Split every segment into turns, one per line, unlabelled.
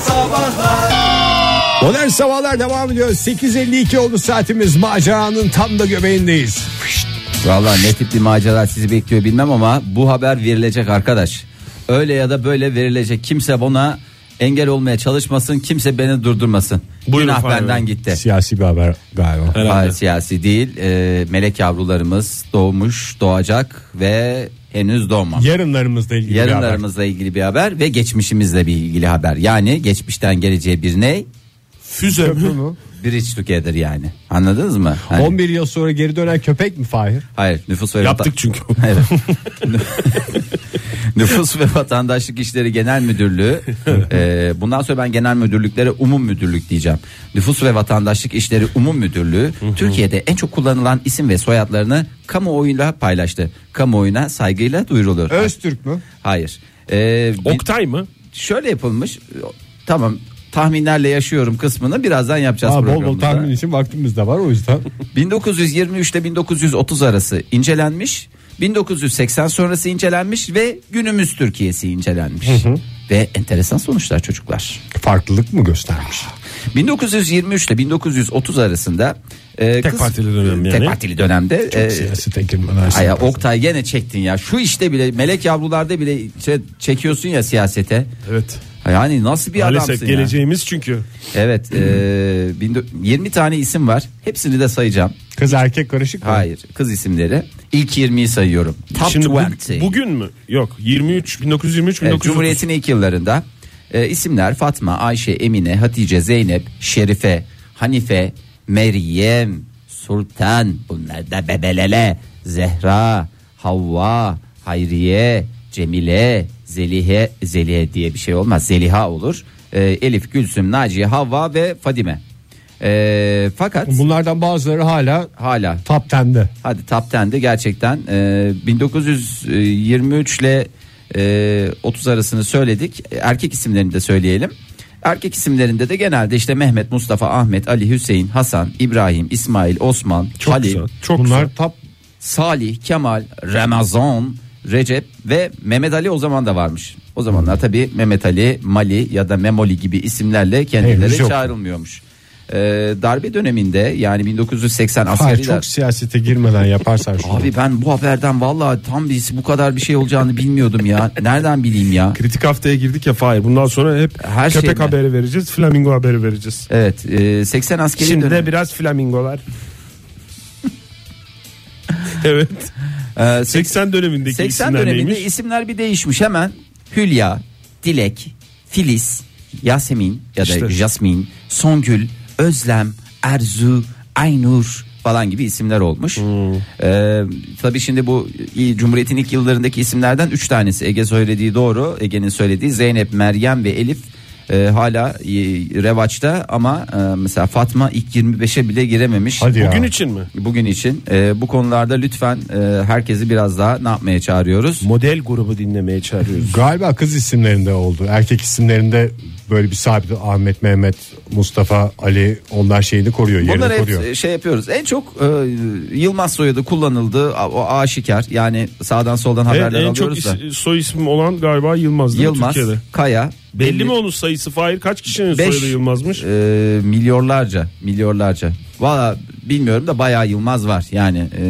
Sabahlar
Modern Sabahlar devam ediyor. 8.52 oldu saatimiz. Maceranın tam da göbeğindeyiz.
Valla ne tip bir macera sizi bekliyor bilmem ama bu haber verilecek arkadaş. Öyle ya da böyle verilecek. Kimse buna engel olmaya çalışmasın. Kimse beni durdurmasın.
Buyurun
Günah
Fahri
benden
Bey.
gitti.
Siyasi bir haber galiba.
Herhalde.
Hayır, siyasi değil. Ee, melek yavrularımız doğmuş, doğacak ve henüz doğmamış.
Yarınlarımızla ilgili bir haber.
Yarınlarımızla ilgili bir haber ve geçmişimizle bir ilgili haber. Yani geçmişten geleceğe bir ne?
Füze mi?
Bridge together yani. Anladınız mı? Hani-
11 yıl sonra geri dönen köpek mi Fahir?
Hayır nüfus ve vatan-
Yaptık çünkü.
Evet. Nüfus ve Vatandaşlık İşleri Genel Müdürlüğü. e, bundan sonra ben genel müdürlüklere umum müdürlük diyeceğim. Nüfus ve Vatandaşlık İşleri Umum Müdürlüğü Türkiye'de en çok kullanılan isim ve soyadlarını kamuoyuyla paylaştı. Kamuoyuna saygıyla duyurulur.
Öztürk mü?
Hayır. E, bir-
Oktay mı?
şöyle yapılmış. Tamam tahminlerle yaşıyorum kısmını birazdan yapacağız
Aa, bol bol
programımızda.
tahmin için vaktimiz de var o yüzden.
1923 ile 1930 arası incelenmiş. 1980 sonrası incelenmiş ve günümüz Türkiye'si incelenmiş. Ve enteresan sonuçlar çocuklar.
Farklılık mı göstermiş?
1923 ile 1930 arasında e,
Tek partili dönem yani.
Tek partili dönemde e,
Siyasi tekirmen Ersin.
Ay ya Oktay gene çektin ya. Şu işte bile melek yavrularda bile şey, çekiyorsun ya siyasete.
Evet.
Yani nasıl bir
Maalesef
adamsın ya.
geleceğimiz çünkü.
Evet. E, 20 tane isim var. Hepsini de sayacağım.
Kız erkek karışık mı?
Hayır kız isimleri. İlk 20'yi sayıyorum. Top
Şimdi bu-
20.
bugün mü? Yok 23 1923
Evet,
1930.
Cumhuriyet'in ilk yıllarında e, isimler Fatma, Ayşe, Emine, Hatice, Zeynep, Şerife, Hanife, Meryem, Sultan bunlar da bebelele, Zehra, Havva, Hayriye, Cemile, Zelihe, Zelihe diye bir şey olmaz. Zeliha olur. E, Elif, Gülsüm, Naciye, Havva ve Fadime. E, fakat
Bunlardan bazıları hala
hala
top 10'de.
Hadi Top 10'de gerçekten e, 1923 ile e, 30 arasını söyledik. Erkek isimlerini de söyleyelim. Erkek isimlerinde de genelde işte Mehmet, Mustafa, Ahmet, Ali, Hüseyin, Hasan, İbrahim, İsmail, Osman, Halil,
güzel. Çok
Bunlar
güzel.
top
Salih, Kemal, Ramazan, Recep ve Mehmet Ali o zaman da varmış. O zamanlar
Hmm.
tabii Mehmet Ali, Mali ya da Memoli gibi isimlerle kendileri
Henüz yok.
çağrılmıyormuş. E, darbe döneminde yani 1980
Hayır
askeriler...
çok siyasete girmeden yaparsan şunu.
Abi ben bu haberden vallahi tam biz bu kadar bir şey olacağını bilmiyordum ya. Nereden bileyim ya?
Kritik haftaya girdik ya Fahir. Bundan sonra hep
Her
köpek
şeyden.
haberi vereceğiz. Flamingo haberi vereceğiz.
Evet, e, 80 askeri
Şimdi
dönemi.
de biraz flamingolar. evet.
E,
80 dönemindeki
80
isimler
döneminde
neymiş?
isimler bir değişmiş hemen. Hülya, Dilek, Filiz, Yasemin ya da
İşte.
Jasmin, Songül, Özlem, Erzu, Aynur falan gibi isimler olmuş.
Hmm.
Ee, tabii şimdi bu il- Cumhuriyet'in ilk yıllarındaki isimlerden 3 tanesi Ege söylediği doğru. Ege'nin söylediği Zeynep, Meryem ve Elif e, hala e, revaçta ama e, mesela Fatma ilk 25'e bile girememiş.
Hadi ya.
Bugün için mi?
Bugün için e, bu konularda lütfen e, herkesi biraz daha ne yapmaya çağırıyoruz?
Model grubu dinlemeye çağırıyoruz.
Galiba kız isimlerinde oldu. Erkek isimlerinde böyle bir sabit Ahmet, Mehmet, Mustafa, Ali onlar şeyini koruyor,
Bunları
yerini
hep
koruyor.
şey yapıyoruz. En çok e, Yılmaz soyadı kullanıldı. A- O aşikar. Yani sağdan soldan
Evet,
haberler
en çok
alıyoruz da.
is- soy ismi olan galiba Yılmaz değil mi
Yılmaz,
Türkiye'de?
Kaya.
Belli mi onun sayısı Fahir? Kaç kişinin
Beş.
soyadı Yılmaz'mış?
E, milyonlarca, milyonlarca. Valla bilmiyorum da bayağı Yılmaz var. Yani e,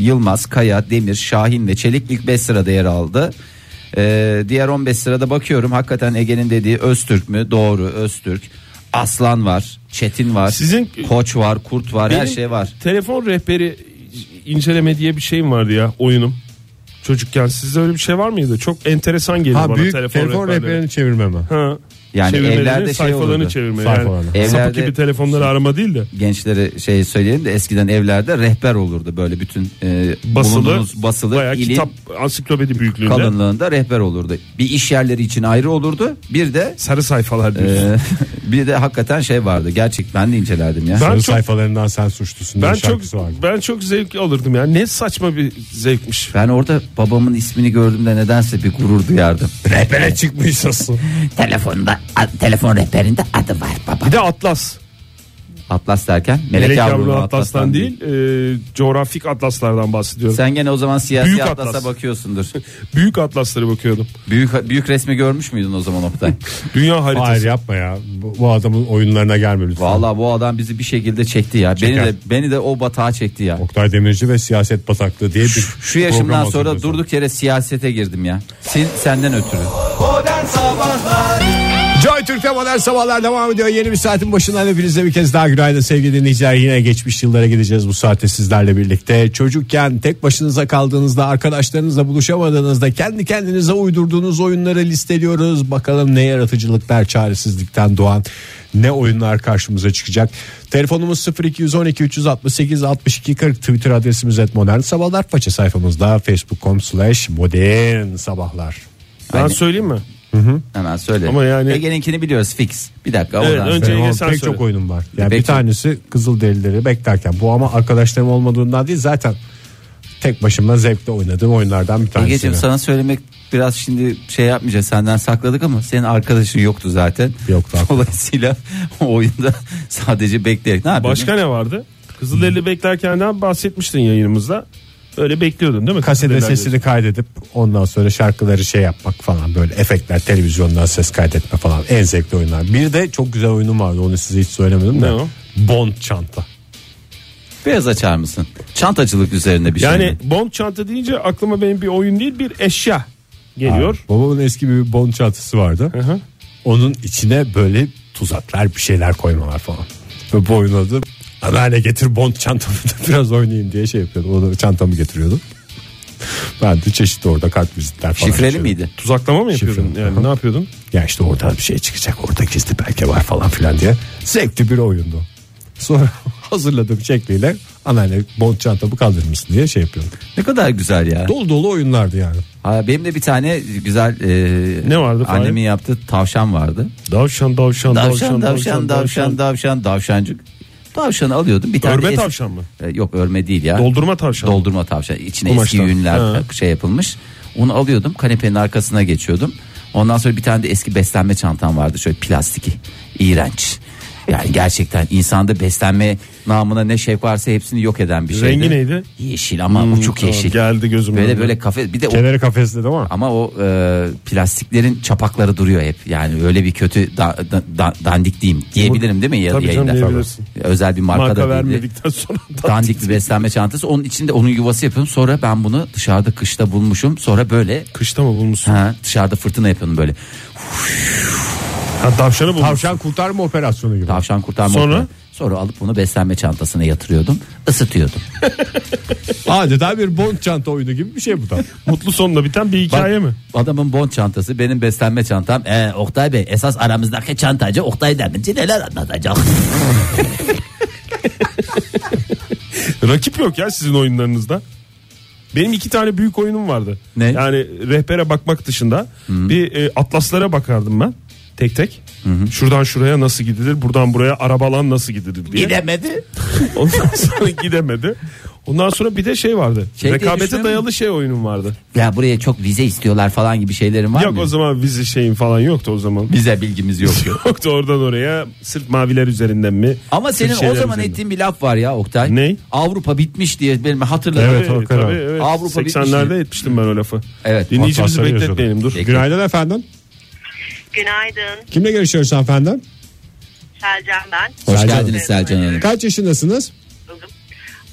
Yılmaz, Kaya, Demir, Şahin ve Çelik ilk 5 sırada yer aldı. E, diğer 15 sırada bakıyorum. Hakikaten Ege'nin dediği Öztürk mü? Doğru, Öztürk. Aslan var, Çetin var,
Sizin-
Koç var, Kurt var, her
Benim
şey var.
Telefon rehberi inceleme diye bir şeyim vardı ya oyunum. Çocukken sizde öyle bir şey var mıydı? Çok enteresan geliyor
Ha
bana
büyük
telefon,
telefon,
rehberleri.
rehberini çevirme mi?
Ha.
Yani
Çevirmeleri,
evlerde şey
sayfalarını
olurdu.
çevirme.
Sayfalarını.
Yani sapık
Evlerde- şey-
gibi telefonları arama değil de.
gençlere şey söyleyelim de eskiden evlerde rehber olurdu böyle bütün e,
Basılı,
bulunduğunuz basılı
bayağı
ilin
kitap ansiklopedi büyüklüğünde.
kalınlığında rehber olurdu. Bir iş yerleri için ayrı olurdu. Bir de
Sarı sayfalar diyorsun.
e, bir de hakikaten şey vardı. Gerçek ben de incelerdim ya.
Ben
Sarı
çok-
sayfalarından sen suçlusun diye
ben çok
şarkısı vardı.
ben çok zevk alırdım ya. Ne saçma bir zevkmiş.
Ben orada babamın ismini gördüğümde nedense bir gurur duyardım.
Rehbere çıkmışsın.
Telefonda a- telefon rehberinde adı var baba.
Bir de atlas.
Atlas derken Melek,
Melek
Yavrulu
Yavru Atlas'tan değil e, coğrafik atlaslardan bahsediyorum.
Sen gene o zaman siyasi
Büyük
atlasa
Atlas.
bakıyorsundur.
Büyük atlaslara bakıyordum.
büyük büyük resmi görmüş müydün o zaman Oktay?
Dünya haritası.
Hayır yapma ya. Bu, bu adamın oyunlarına gelme lütfen.
Valla bu adam bizi bir şekilde çekti ya. Beni
Çeker.
de beni de o batağa çekti ya.
Oktay Demirci ve siyaset bataklığı diye bir
Şu
program
yaşımdan sonra
hazırlıyorsun.
durduk yere siyasete girdim ya. Sin, senden ötürü.
Modern Sabahlar
Joy Türk'te modern sabahlar devam ediyor. Yeni bir saatin başından hepinize bir kez daha günaydın sevgili dinleyiciler. Yine geçmiş yıllara gideceğiz bu saatte sizlerle birlikte. Çocukken tek başınıza kaldığınızda, arkadaşlarınızla buluşamadığınızda kendi kendinize uydurduğunuz oyunları listeliyoruz. Bakalım ne yaratıcılıklar çaresizlikten doğan ne oyunlar karşımıza çıkacak. Telefonumuz 0212 368 62 40 Twitter adresimiz et modern sabahlar. Faça sayfamızda facebook.com slash modern sabahlar.
Ben
Aynen.
söyleyeyim mi?
Hemen söyle.
Ama yani-
Ege'ninkini biliyoruz fix. Bir dakika
Evet,
oradan
önce-
söyle.
Benim
Ege
ama
sen
pek
söyle.
çok oyunum var. Yani
Peki.
bir tanesi Kızılderilileri beklerken. Bu ama arkadaşlarım olmadığından değil zaten tek başıma zevkle oynadığım oyunlardan bir tanesi.
Ege'cim sana söylemek biraz şimdi şey yapmayacağız senden sakladık ama senin arkadaşın yoktu zaten.
Yoktu, haklı.
Dolayısıyla o oyunda sadece bekleyerek ne yapıyorsun?
Başka ne vardı? Kızılderili beklerkenden bahsetmiştin yayınımızda. Öyle bekliyordun değil mi?
Kasede
Kızılderilileri?
sesini kaydedip ondan sonra şarkıları şey yapmak falan böyle efektler televizyondan ses kaydetme falan en zevkli oyunlar. Bir de çok güzel oyunum vardı onu size hiç söylemedim de.
Ne o?
Bond çanta.
Biraz açar mısın? Çantacılık üzerine bir şey.
Yani
mi?
bond çanta deyince aklıma benim bir oyun değil bir eşya geliyor.
Ha, babamın eski bir Bond çantası vardı.
Hı hı.
Onun içine böyle tuzaklar bir şeyler koymalar falan. Ve bu oyunu da anneanne getir bond çantamı da biraz oynayayım diye şey yapıyordum. O da çantamı getiriyordum. ben de çeşitli orada kart vizitler falan.
Şifreli
açıyordum.
miydi?
Tuzaklama mı yapıyordun?
Şifre.
Yani
Hı hı.
ne yapıyordun?
Ya işte oradan bir şey çıkacak orada gizli belge var falan filan diye. Zevkli bir oyundu. Sonra hazırladığım şekliyle anneanne bond çantamı kaldırır mısın diye şey yapıyordum.
Ne kadar güzel ya.
Dolu dolu oyunlardı yani.
Ha, benim de bir tane güzel e,
Ne vardı Fahir?
annemin yaptığı tavşan vardı.
Davşan davşan
Davşan davşan davşan davşan davşancık. Tavşanı alıyordum. Bir tane
Örme
es-
tavşan mı?
E, yok örme değil ya.
Doldurma tavşan.
Doldurma tavşan. İçine
Kumaştan.
eski yünler
Ha.
şey yapılmış. Onu alıyordum kanepenin arkasına geçiyordum. Ondan sonra bir tane de eski beslenme çantam vardı şöyle plastiki. iğrenç. Yani gerçekten insanda beslenme namına ne şevk varsa hepsini yok eden bir şeydi.
Rengi neydi? Hmm,
Yeşil ama uçuk
tamam,
yeşil.
geldi gözümün
Böyle
önüne.
böyle kafe bir de o
Kenarı kafesinde de ama.
ama o e, plastiklerin çapakları duruyor hep. Yani öyle bir kötü da, da- da- dandik diyeyim diyebilirim değil mi ya,
Tabii canım,
yayında?
diyebilirsin.
Özel bir marka,
Marka
da değildi.
vermedikten sonra da-
Dandik bir beslenme çantası. Onun içinde onun yuvası yapıyorum. Sonra ben bunu dışarıda kışta bulmuşum. Sonra böyle
Kışta mı bulmuşsun?
ha, dışarıda fırtına yapıyorum böyle.
Ha, tavşanı bulmuşsun.
Tavşan kurtarma operasyonu gibi.
Tavşan kurtarma.
Sonra?
operasyonu. Sonra alıp bunu beslenme çantasına yatırıyordum. Isıtıyordum.
Adeta bir bond çanta oyunu gibi bir şey bu da.
Mutlu sonla biten bir
Bak,
hikaye mi?
Adamın bon çantası benim beslenme çantam. Ee, Oktay Bey esas aramızdaki çantacı Oktay Demirci neler anlatacak?
Rakip yok ya sizin oyunlarınızda. Benim iki tane büyük oyunum vardı.
Ne?
Yani rehbere bakmak dışında bir e, atlaslara bakardım ben tek tek. Şuradan şuraya nasıl gidilir, buradan buraya arabalan nasıl gidilir diye.
Gidemedi.
Ondan sonra gidemedi. Ondan sonra bir de şey vardı.
Şey diye
rekabete
düşünüyor
dayalı şey oyunum vardı.
Ya buraya çok vize istiyorlar falan gibi şeylerin var
Yok
mı?
o zaman vize şeyin falan yoktu o zaman.
Vize bilgimiz yok.
Yoktu oradan oraya sırf maviler üzerinden mi?
Ama
sırf
senin o
şeyler
zaman
üzerinden.
ettiğin bir laf var ya Oktay.
Ney?
Avrupa bitmiş diye benim hatırladım.
Evet,
Tabii,
Hakan abi.
tabii, evet.
Avrupa
80'lerde etmiştim ben o lafı.
Evet.
Dinleyicimizi
Atlasları
bekletmeyelim dur.
Peki.
Günaydın efendim.
Günaydın.
Kimle görüşüyoruz hanımefendi?
Selcan ben.
Hoş
Selcan
geldiniz
Hanım.
Selcan Hanım.
Kaç yaşındasınız?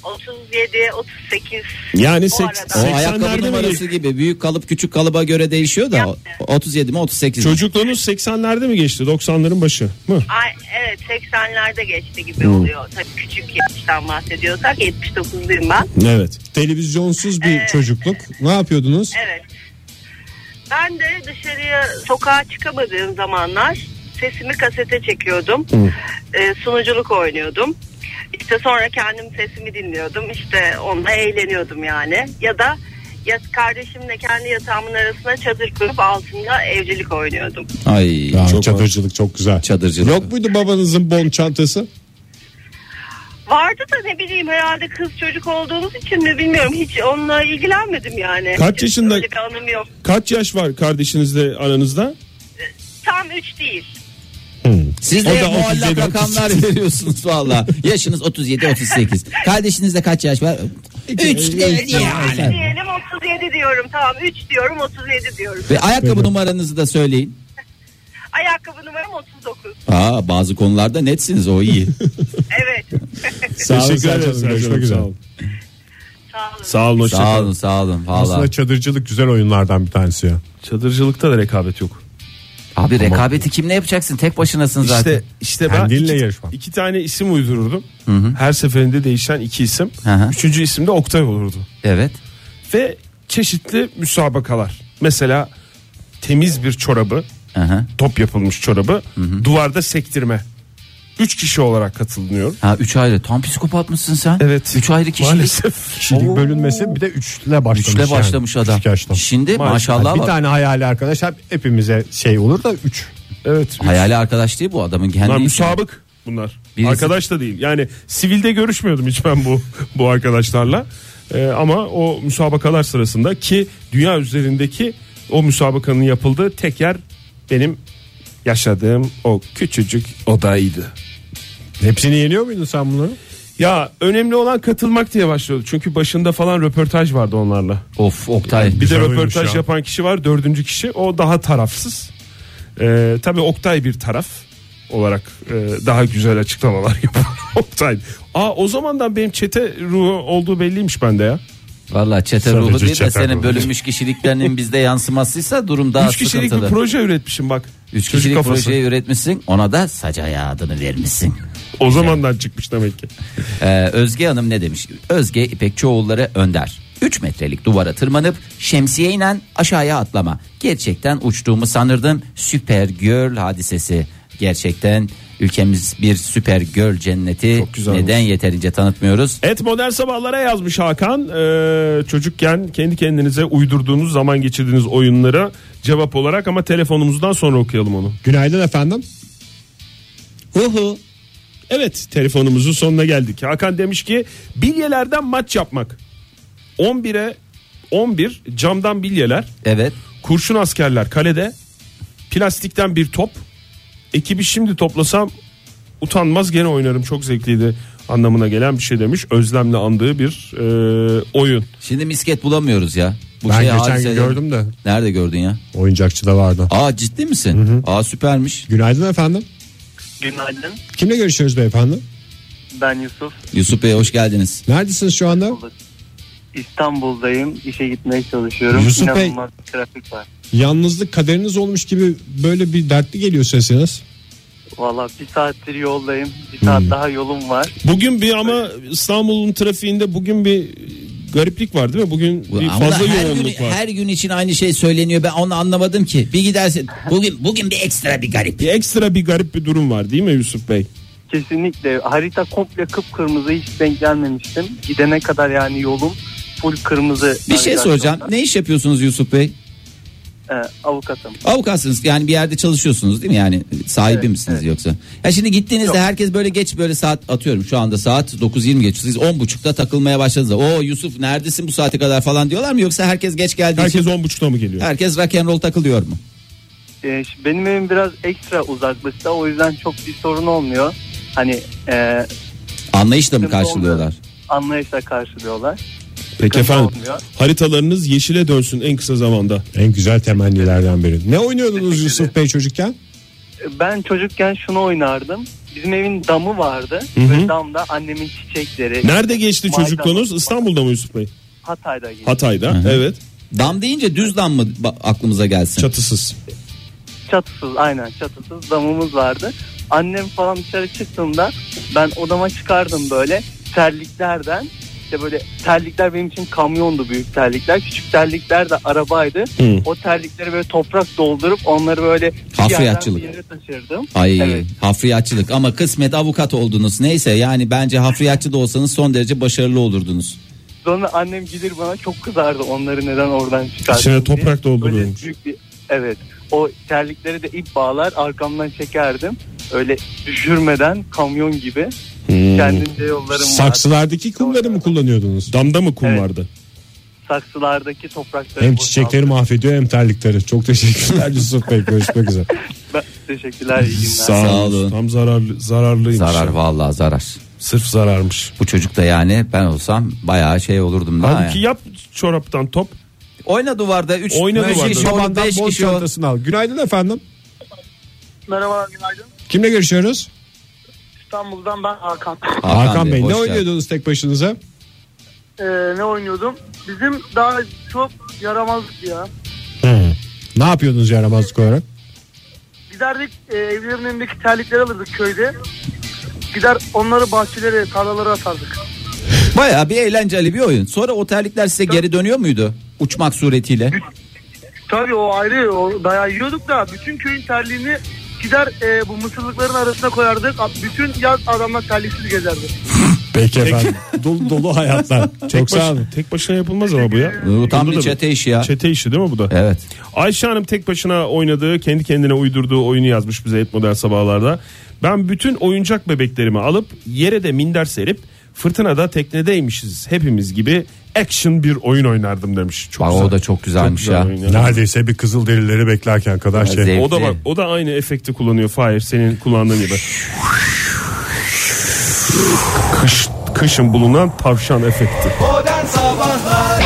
37, 38.
Yani
O
seks-
arada.
O
80'lerde
ayakkabı
mi
numarası gibi büyük kalıp küçük kalıba göre değişiyor da o- 37 mi 38 mi?
Çocukluğunuz 80'lerde mi geçti? 90'ların başı mı?
Ay, evet 80'lerde geçti gibi oluyor. Tabii küçük yaştan bahsediyorsak 79'luyum ben.
Evet.
Televizyonsuz bir
Ee,
çocukluk. Ne yapıyordunuz?
Evet. Ben de dışarıya sokağa çıkamadığım zamanlar sesimi kasete çekiyordum. Ee, sunuculuk oynuyordum. İşte sonra kendim sesimi dinliyordum. İşte onunla eğleniyordum yani. Ya da ya kardeşimle kendi yatağımın arasına çadır kurup altında evcilik oynuyordum.
Ay
Ya,
çok
çadırcılık çok güzel.
çadırcılık.
Yok muydu babanızın bon çantası?
Vardı da ne bileyim herhalde kız çocuk olduğumuz için mi bilmiyorum. Hiç onunla ilgilenmedim yani.
Kaç
Hiç
yaşında-
Öyle bir anım yok.
Kaç yaş var kardeşinizle aranızda?
Tam 3 değil.
Siz
O
de
da
muallak
37,
rakamlar
38.
veriyorsunuz valla. Yaşınız 37-38. Kardeşinizde kaç yaş var? 3 dedi yani.
Diyelim 37 diyorum tamam 3 diyorum 37 diyorum.
Ve ayakkabı numaranızı da söyleyin.
Ayakkabı numaram 39.
Aa, bazı konularda netsiniz o iyi.
Evet.
Sağ olun,
Teşekkür
Selçuk Hanım.
ederiz Selçuk Hanım,
Görüşmek üzere.
sağ olun.
Sağ olun.
Sağ olun hoşça
sağ
kalın.
olun sağ olun valla.
Aslında çadırcılık güzel oyunlardan bir tanesi ya.
Çadırcılıkta da rekabet yok.
Abi rekabeti kimle yapacaksın? Tek başınasın zaten.
İşte işte ben
Kendinle
iki,
yarışma.
iki tane isim uydururdum. Her seferinde değişen iki isim.
Hı hı.
Üçüncü isim de Oktay olurdu.
Evet.
Ve çeşitli müsabakalar. Mesela temiz bir çorabı,
Aha.
top yapılmış çorabı duvarda sektirme. Üç kişi olarak katılınıyor.
Ha, üç ayrı. Tam psikopat mısın sen?
Evet.
Üç ayrı kişilik.
Maalesef.
Kişilik
Oo.
bölünmesi bir de üçle başlamış.
Üçle
yani.
başlamış adam.
Küçük yaşta.
Şimdi
Maalesef.
maşallah
bir
var.
tane hayali arkadaş hep hepimize şey olur da üç.
Evet.
Hayali arkadaş değil bu adamın kendi.
Bunlar
işi.
müsabık bunlar.
Hani- Birisi-
Arkadaş da değil. Yani sivilde görüşmüyordum hiç ben bu bu arkadaşlarla. Ee, ama o müsabakalar sırasında ki dünya üzerindeki o müsabakanın yapıldığı tek yer benim yaşadığım o küçücük odaydı.
Hepsini yeniyor muydun sen bunları?
Ya önemli olan katılmak diye başlıyordu. Çünkü başında falan röportaj vardı onlarla.
Of Oktay.
Bir de
Güzel oymuş
röportaj
ya.
yapan kişi var. Dördüncü kişi. O daha tarafsız. Ee, tabii Oktay bir taraf olarak e, daha güzel açıklamalar yapar. Oktay. Aa o zamandan benim çete ruhu olduğu belliymiş bende ya.
Valla çete
Sadece
ruhu değil de
çete
senin
ruhu.
bölünmüş kişiliklerinin bizde yansımasıysa durum daha
Üç kişilik
sıkıntılı.
bir proje üretmişim bak.
Üç
Çocuk
kişilik
kafası.
projeyi üretmişsin ona da saca adını vermişsin.
O zamandan çıkmış demek ki.
Ee, Özge Hanım ne demiş? Özge İpekçioğulları Önder. 3 metrelik duvara tırmanıp şemsiye inen aşağıya atlama. Gerçekten uçtuğumu sanırdım. Süper Girl hadisesi. Gerçekten ülkemiz bir süper girl cenneti.
güzel
Neden yeterince tanıtmıyoruz?
Et modern sabahlara yazmış Hakan. Ee, çocukken kendi kendinize uydurduğunuz zaman geçirdiğiniz oyunlara cevap olarak ama telefonumuzdan sonra okuyalım onu.
Günaydın efendim.
Huhu.
Evet telefonumuzun sonuna geldik. Hakan demiş ki bilyelerden maç yapmak. 11'e 11 camdan bilyeler,
Evet.
kurşun askerler kalede, plastikten bir top. Ekibi şimdi toplasam utanmaz gene oynarım çok zevkliydi anlamına gelen bir şey demiş. Özlemle andığı bir e, oyun.
Şimdi misket bulamıyoruz ya. Bu
Ben
şey
geçen gün
hadiseden-
gördüm de.
Nerede gördün ya?
Oyuncakçı da vardı.
Aa ciddi misin? Aa süpermiş.
Günaydın efendim.
Günaydın.
Kimle görüşüyoruz beyefendi?
Ben Yusuf.
Yusuf Bey hoş geldiniz.
Neredesiniz şu anda?
İstanbul'dayım. İşe gitmeye çalışıyorum.
Yusuf Bey.
İnanılmaz bir trafik var.
Yalnızlık kaderiniz olmuş gibi böyle bir dertli geliyor sesiniz.
Valla bir saattir yoldayım. Bir
Hmm.
saat daha yolum var.
Bugün bir ama İstanbul'un trafiğinde bugün bir gariplik var değil mi? Bugün bir
Ama
fazla
her
yoğunluk
gün,
var.
Her gün için aynı şey söyleniyor. Ben onu anlamadım ki. Bir gidersin. Bugün bugün bir ekstra bir garip.
Bir ekstra bir garip bir durum var değil mi Yusuf Bey?
Kesinlikle. Harita komple kıpkırmızı hiç denk gelmemiştim. Gidene kadar yani yolum full kırmızı.
Bir şey soracağım. Ne iş yapıyorsunuz Yusuf Bey?
Ee, avukatım.
Avukatsınız yani bir yerde çalışıyorsunuz değil mi? Yani sahibi misiniz yoksa? Ya şimdi gittiğinizde herkes böyle geç böyle saat atıyorum şu anda saat 9.20 geçiyor. Siz 10.30'da takılmaya başladınız. O Yusuf neredesin bu saate kadar falan diyorlar mı? Yoksa herkes geç geldiği herkes,
Herkes
için
10.30'da mı geliyor?
herkes rock and roll takılıyor mu?
Ee, ş- benim evim biraz ekstra uzaklıkta. O yüzden çok bir sorun olmuyor. Hani e,
Anlayışla mı
Sıkıntı
karşılıyorlar?
olmuyor. anlayışla karşılıyorlar.
Peki
Sıkıntı
efendim
olmuyor.
haritalarınız yeşile dönsün en kısa zamanda.
En güzel temennilerden biri. Ne oynuyordunuz
Teşekkür
Yusuf Bey çocukken?
Ben çocukken şunu oynardım. Bizim evin damı vardı. Ve damda annemin çiçekleri.
Nerede geçti
Maydanoz.
çocukluğunuz? İstanbul'da mı Yusuf Bey?
Hatay'da geçti.
Hatay'da evet
Dam deyince düz dam mı ba- aklımıza gelsin?
çatısız.
Çatısız aynen çatısız damımız vardı. Annem falan dışarı çıktığında ben odama çıkardım böyle terliklerden. İşte böyle terlikler benim için kamyondu büyük terlikler. Küçük terlikler de arabaydı. O terlikleri böyle toprak doldurup onları böyle bir
Hafriyatçılık.
yerden bir yere taşırdım.
Ay
Evet.
hafriyatçılık ama kısmet avukat oldunuz. Neyse yani bence hafriyatçı da olsanız son derece başarılı olurdunuz.
Sonra annem gelir bana çok kızardı onları neden oradan çıkardın
İçine
diye.
toprak dolduruyormuş.
Böyle büyük bir- Evet. O terlikleri de ip bağlar arkamdan çekerdim. Öyle düşürmeden kamyon gibi. Kendince yollarım vardı.
Saksılardaki kumları mı kullanıyordunuz?
Damda mı kum
Evet.
vardı?
saksılardaki toprakları
Hem çiçekleri
boşaltıyor.
mahvediyor hem terlikleri. Çok teşekkürler Yusuf Bey. Görüşmek üzere.
Ben- Teşekkürler iyi günler.
Sağ olun.
Tam zararlı, zararlıymış.
Zarar vallahi zarar.
Sırf zararmış.
Bu çocuk da yani ben olsam bayağı şey olurdum da.
Halbuki yap çoraptan top.
Oyna duvarda 3
Oyna duvarda.
kişi ol,
Babandan
5
bol
kişi ol.
çantasını al. Günaydın efendim.
Merhaba günaydın.
Kimle görüşüyoruz?
İstanbul'dan ben Hakan.
Hakan, Bey.
hoş
Ne
geldin.
oynuyordunuz tek başınıza?
Ee, ne oynuyordum? Bizim daha çok yaramazlık ya.
Ne yapıyordunuz yaramazlık olarak?
Giderdik e, evlerin önündeki terlikleri alırdık köyde. Gider onları bahçelere, tarlalara atardık.
Bayağı bir eğlenceli bir oyun. Sonra o terlikler size geri dönüyor muydu? Uçmak suretiyle.
Tabii o ayrı, o dayağı yiyorduk da bütün köyün terliğini gider e, bu mısırlıkların arasına koyardık. Bütün yaz adamlar terliksiz gezerdi.
Peki efendim. dolu dolu hayatlar. Çok
Baş-
sağ olun.
tek başına yapılmaz ama bu ya.
Bu tam
Bunda
bir
da-
çete işi ya.
Çete işi değil mi bu da?
Evet.
Ayşe Hanım tek başına oynadığı, kendi kendine uydurduğu oyunu yazmış bize et modern sabahlarda. Ben bütün oyuncak bebeklerimi alıp yere de minder serip fırtınada teknedeymişiz hepimiz gibi action bir oyun oynardım demiş. Çok
Bak
güzel.
o da çok güzelmiş
Güzel
ya.
oyun ya.
Neredeyse bir kızıl derileri beklerken kadar
Ya zevk-
şey.
O da bak o da aynı efekti kullanıyor Fahir senin kullandığın gibi. Kış, kışın bulunan tavşan efekti.
Modern Sabahlar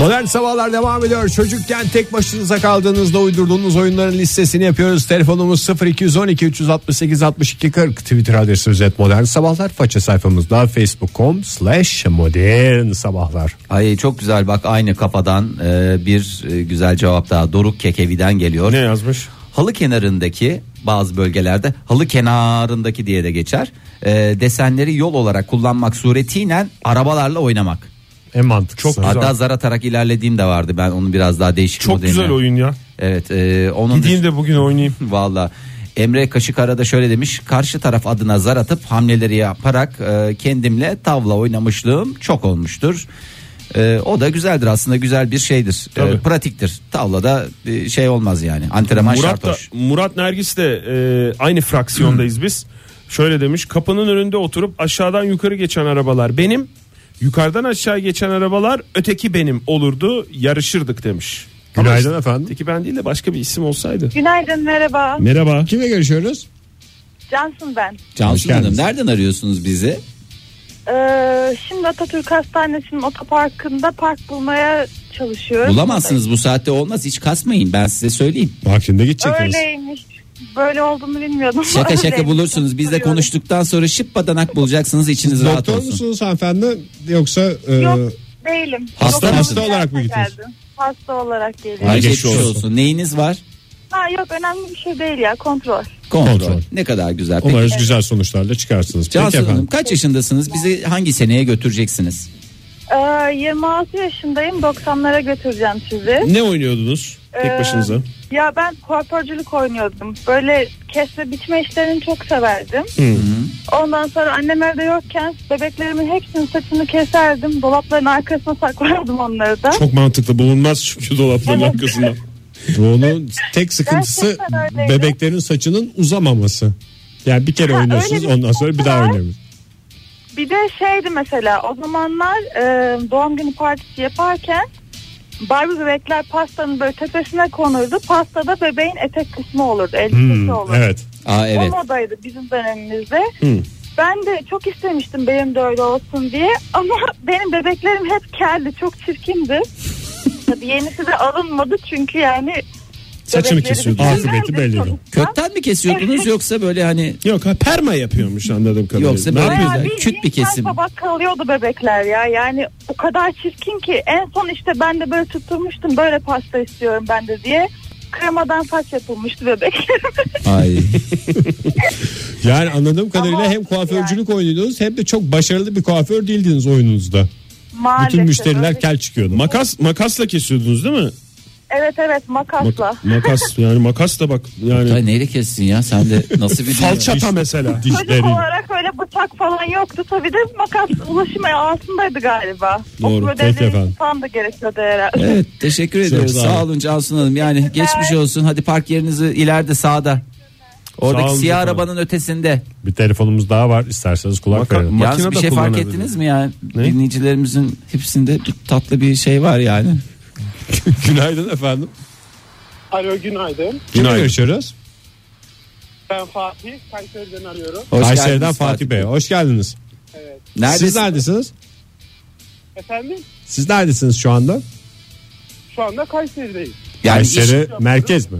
Modern sabahlar devam ediyor. Çocukken tek başınıza kaldığınızda uydurduğunuz oyunların listesini yapıyoruz. Telefonumuz 0212 368 62 40. Twitter adresimiz et modern sabahlar. Faça sayfamızda facebook.com slash modern sabahlar.
Ay çok güzel bak aynı kafadan e, bir e, güzel cevap daha Doruk Kekevi'den geliyor.
Ne yazmış?
Halı kenarındaki bazı bölgelerde halı kenarındaki diye de geçer. E, desenleri yol olarak kullanmak suretiyle arabalarla oynamak.
En mantıklı.
Çok- Güzel.
Hatta zar atarak ilerlediğim de vardı. Ben onu biraz daha değişik
Çok
modeline-
güzel oyun ya.
Evet, e, onun
Gideyim de bugün oynayayım.
Valla Emre Kaşıkara da şöyle demiş karşı taraf adına zar atıp hamleleri yaparak e, kendimle tavla oynamışlığım çok olmuştur. E, o da güzeldir aslında güzel bir şeydir E,
Tabii.
pratiktir tavlada e, şey olmaz yani antrenman şart
Murat da,
hoş.
Murat Nergis de e, aynı fraksiyondayız biz. Şöyle demiş kapının önünde oturup aşağıdan yukarı geçen arabalar benim. Yukarıdan aşağı geçen arabalar öteki benim olurdu yarışırdık demiş. Ama
Günaydın
işte
efendim.
Öteki ben değil de başka bir isim olsaydı.
Günaydın merhaba.
Merhaba.
Kimle görüşüyoruz?
Cansın ben.
Hoş
Cansu
geldiniz.
Hanım nereden arıyorsunuz bizi?
Ee, şimdi Atatürk Hastanesi'nin otoparkında park bulmaya çalışıyorum.
Bulamazsınız bu saatte olmaz hiç kasmayın ben size söyleyeyim.
Vaktinde gidecektiniz.
Öyleymiş. Böyle olduğunu bilmiyordum.
Şaka şaka
Öyleymiş.
bulursunuz bizle
Arıyorum.
konuştuktan sonra şıp badanak bulacaksınız içiniz rahat
Doktor
olsun.
musunuz hanımefendi yoksa e,
Yok değilim.
Hasta
Yok,
mısın?
hasta
olarak mı gidiyorsun?
geldim. Hasta olarak geliyorum.
Ay,
Ay,
geçmiş
geçmiş
olsun. Neyiniz var?
Ha, yok önemli bir şey değil ya kontrol.
Kontrol.
Kontrol.
Ne kadar güzel. Peki.
umarız güzel sonuçlarla çıkarsınız.
Cansu
Peki
Hanım
efendim.
kaç yaşındasınız? Bizi hangi seneye götüreceksiniz?
Ee, 26 yaşındayım 90'lara götüreceğim sizi.
Ne oynuyordunuz tek
Ee,
başınıza?
Ya ben kuaförcülük oynuyordum. Böyle kesme biçme işlerini çok severdim. Ondan sonra annem evde yokken bebeklerimin hepsinin saçını keserdim. Dolapların arkasına saklardım onları da.
Çok mantıklı bulunmaz çünkü dolapların
Evet.
arkasından.
Bunun tek sıkıntısı
Gerçekten öyleydi.
bebeklerin saçının uzamaması. Yani bir kere
Ha,
oynuyorsunuz
öyle bir
ondan sonra bir daha
var.
oynamıyorsunuz.
Bir de şeydi mesela o zamanlar e, doğum günü partisi yaparken Barbie bebekler pastanın böyle tepesine konurdu. Pastada bebeğin etek kısmı olurdu, elbisesi
Hmm,
olurdu.
evet.
Aa evet.
O modaydı bizim dönemimizde. Ben de çok istemiştim benim de öyle olsun diye ama benim bebeklerim hep keldi çok çirkindi. Tabii yenisi de alınmadı çünkü yani
Saçını
bebekleri de
kesiyordu.
güzeldi
Akıbeti belli.
sonuçta.
Kökten mi kesiyordunuz yoksa böyle hani
Yok ha perma yapıyormuş anladığım kadarıyla.
Yoksa
Ne
böyle-
yapıyorsun?
güzel,
Bayağı
küt bir
insan
kesim.
Tabak kalıyordu bebekler ya. Yani o kadar çirkin ki en son işte ben de böyle tutturmuştum böyle pasta istiyorum ben de diye. Kremadan saç yapılmıştı bebek.
ay
Yani anladığım kadarıyla
Ama
hem kuaförcülük oynuyordunuz hem de çok başarılı bir kuaför değildiniz oyununuzda.
Maalesef.
Bütün müşteriler
öyle.
kel çıkıyordu.
Makas makasla kesiyordunuz değil mi?
Evet evet makasla.
Makas yani makas da bak yani
Ay, neyle kessin ya sen de nasıl bir
falçata mesela.
Çocuk olarak öyle bıçak falan yoktu. Tabii de makas ulaşım altındaydı galiba.
Doğru,
Okul
peki
ödevleri
efendim.
falan da gerekiyordu herhalde.
Evet teşekkür ediyoruz.
sağ
Sağ
olun.
olun Cansu Hanım. Yani geçmiş olsun. Hadi park yerinizi ileride sağda. Oradaki
Sağ olun
siyah
efendim.
arabanın ötesinde.
Bir telefonumuz daha var isterseniz kulak
Bakalım.
verelim.
Makine
Yalnız bir
de
şey fark
kullanabilir.
ettiniz mi yani?
Ne?
Dinleyicilerimizin hepsinde bir tatlı bir şey var yani.
Günaydın efendim.
Alo günaydın.
Kimle
Günaydın.
görüşüyoruz?
Ben Fatih. Kayseri'den arıyorum.
Hoş
Kayseri'den
geldiniz
Fatih Bey. Hoş geldiniz.
Neredesin?
Siz neredesiniz?
Efendim
Siz neredesiniz şu anda?
şu anda Kayseri'deyim.
Yani iş-
Kayseri merkez mi?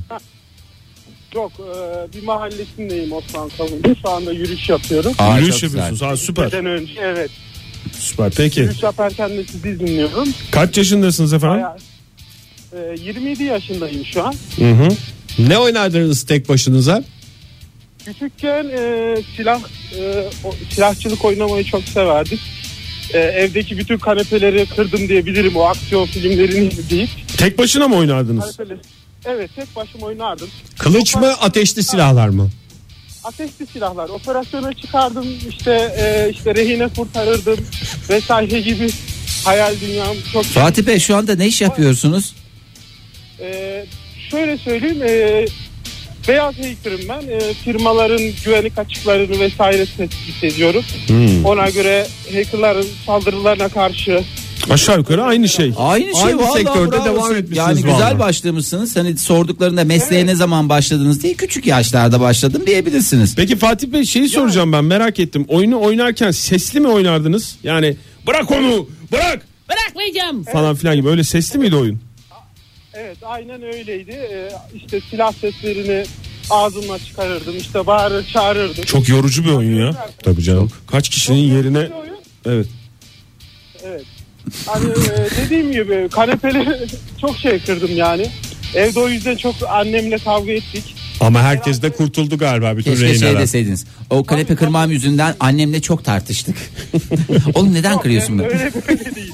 Yok e, bir mahallesindeyim Osman Kavuncu. Şu anda yürüyüş yapıyorum.
Aa, çok
Yürüyüş
güzel.
yapıyorsunuz. Ha, süper.
Neden önce evet.
Süper. Peki.
Yürüyüş yaparken de sizi dinliyorum.
Kaç yaşındasınız efendim?
Bayağı, e, 27 yaşındayım şu an.
Hı hı.
Ne oynardınız tek başınıza?
Küçükken e, silah e, o- silahçılık oynamayı çok severdik. E, evdeki bütün kanepeleri kırdım diyebilirim o aksiyon filmlerini izleyip.
Tek başına mı oynardınız?
Kanepeleri... Evet tek başıma oynardım.
Kılıç mı ateşli silahlar mı?
ateşli silahlar. Operasyona çıkardım işte e, işte rehine kurtarırdım vesaire gibi hayal dünyam çok.
Fatih Bey şu anda ne iş yapıyorsunuz?
E, şöyle söyleyeyim e, beyaz heykelim ben E, firmaların güvenlik açıklarını vesaire tespit ediyorum.
Hmm.
Ona göre hackerların saldırılarına karşı
Aşağı yukarı aynı şey.
Aynı şey
Aynı
vallahi
sektörde
bravo.
devam etmişsiniz
Yani güzel
vallahi.
başlamışsınız. Hani sorduklarında mesleğe ne zaman başladınız diye küçük yaşlarda başladım diyebilirsiniz.
Peki Fatih Bey şeyi soracağım ben merak ettim. Oyunu oynarken sesli mi oynardınız? Yani bırak onu bırak
Bırakmayacağım.
falan filan gibi öyle sesli miydi oyun?
evet aynen öyleydi. E, işte silah seslerini ağzımla çıkarırdım. işte bağırır çağırırdım.
Çok yorucu bir oyun ya.
Tabii canım.
Kaç kişinin yerine
Bir oyun.
evet.
Hani e, dediğim gibi kanepeleri çok şey kırdım yani. Evde o yüzden çok annemle kavga ettik.
Ama herkes de kurtuldu galiba bütün
Keşke şey
rehineler.
deseydiniz. O kanepe kırmam yüzünden annemle çok tartıştık. Oğlum neden kırıyorsun
Yani
bunu?
öyle böyle değil.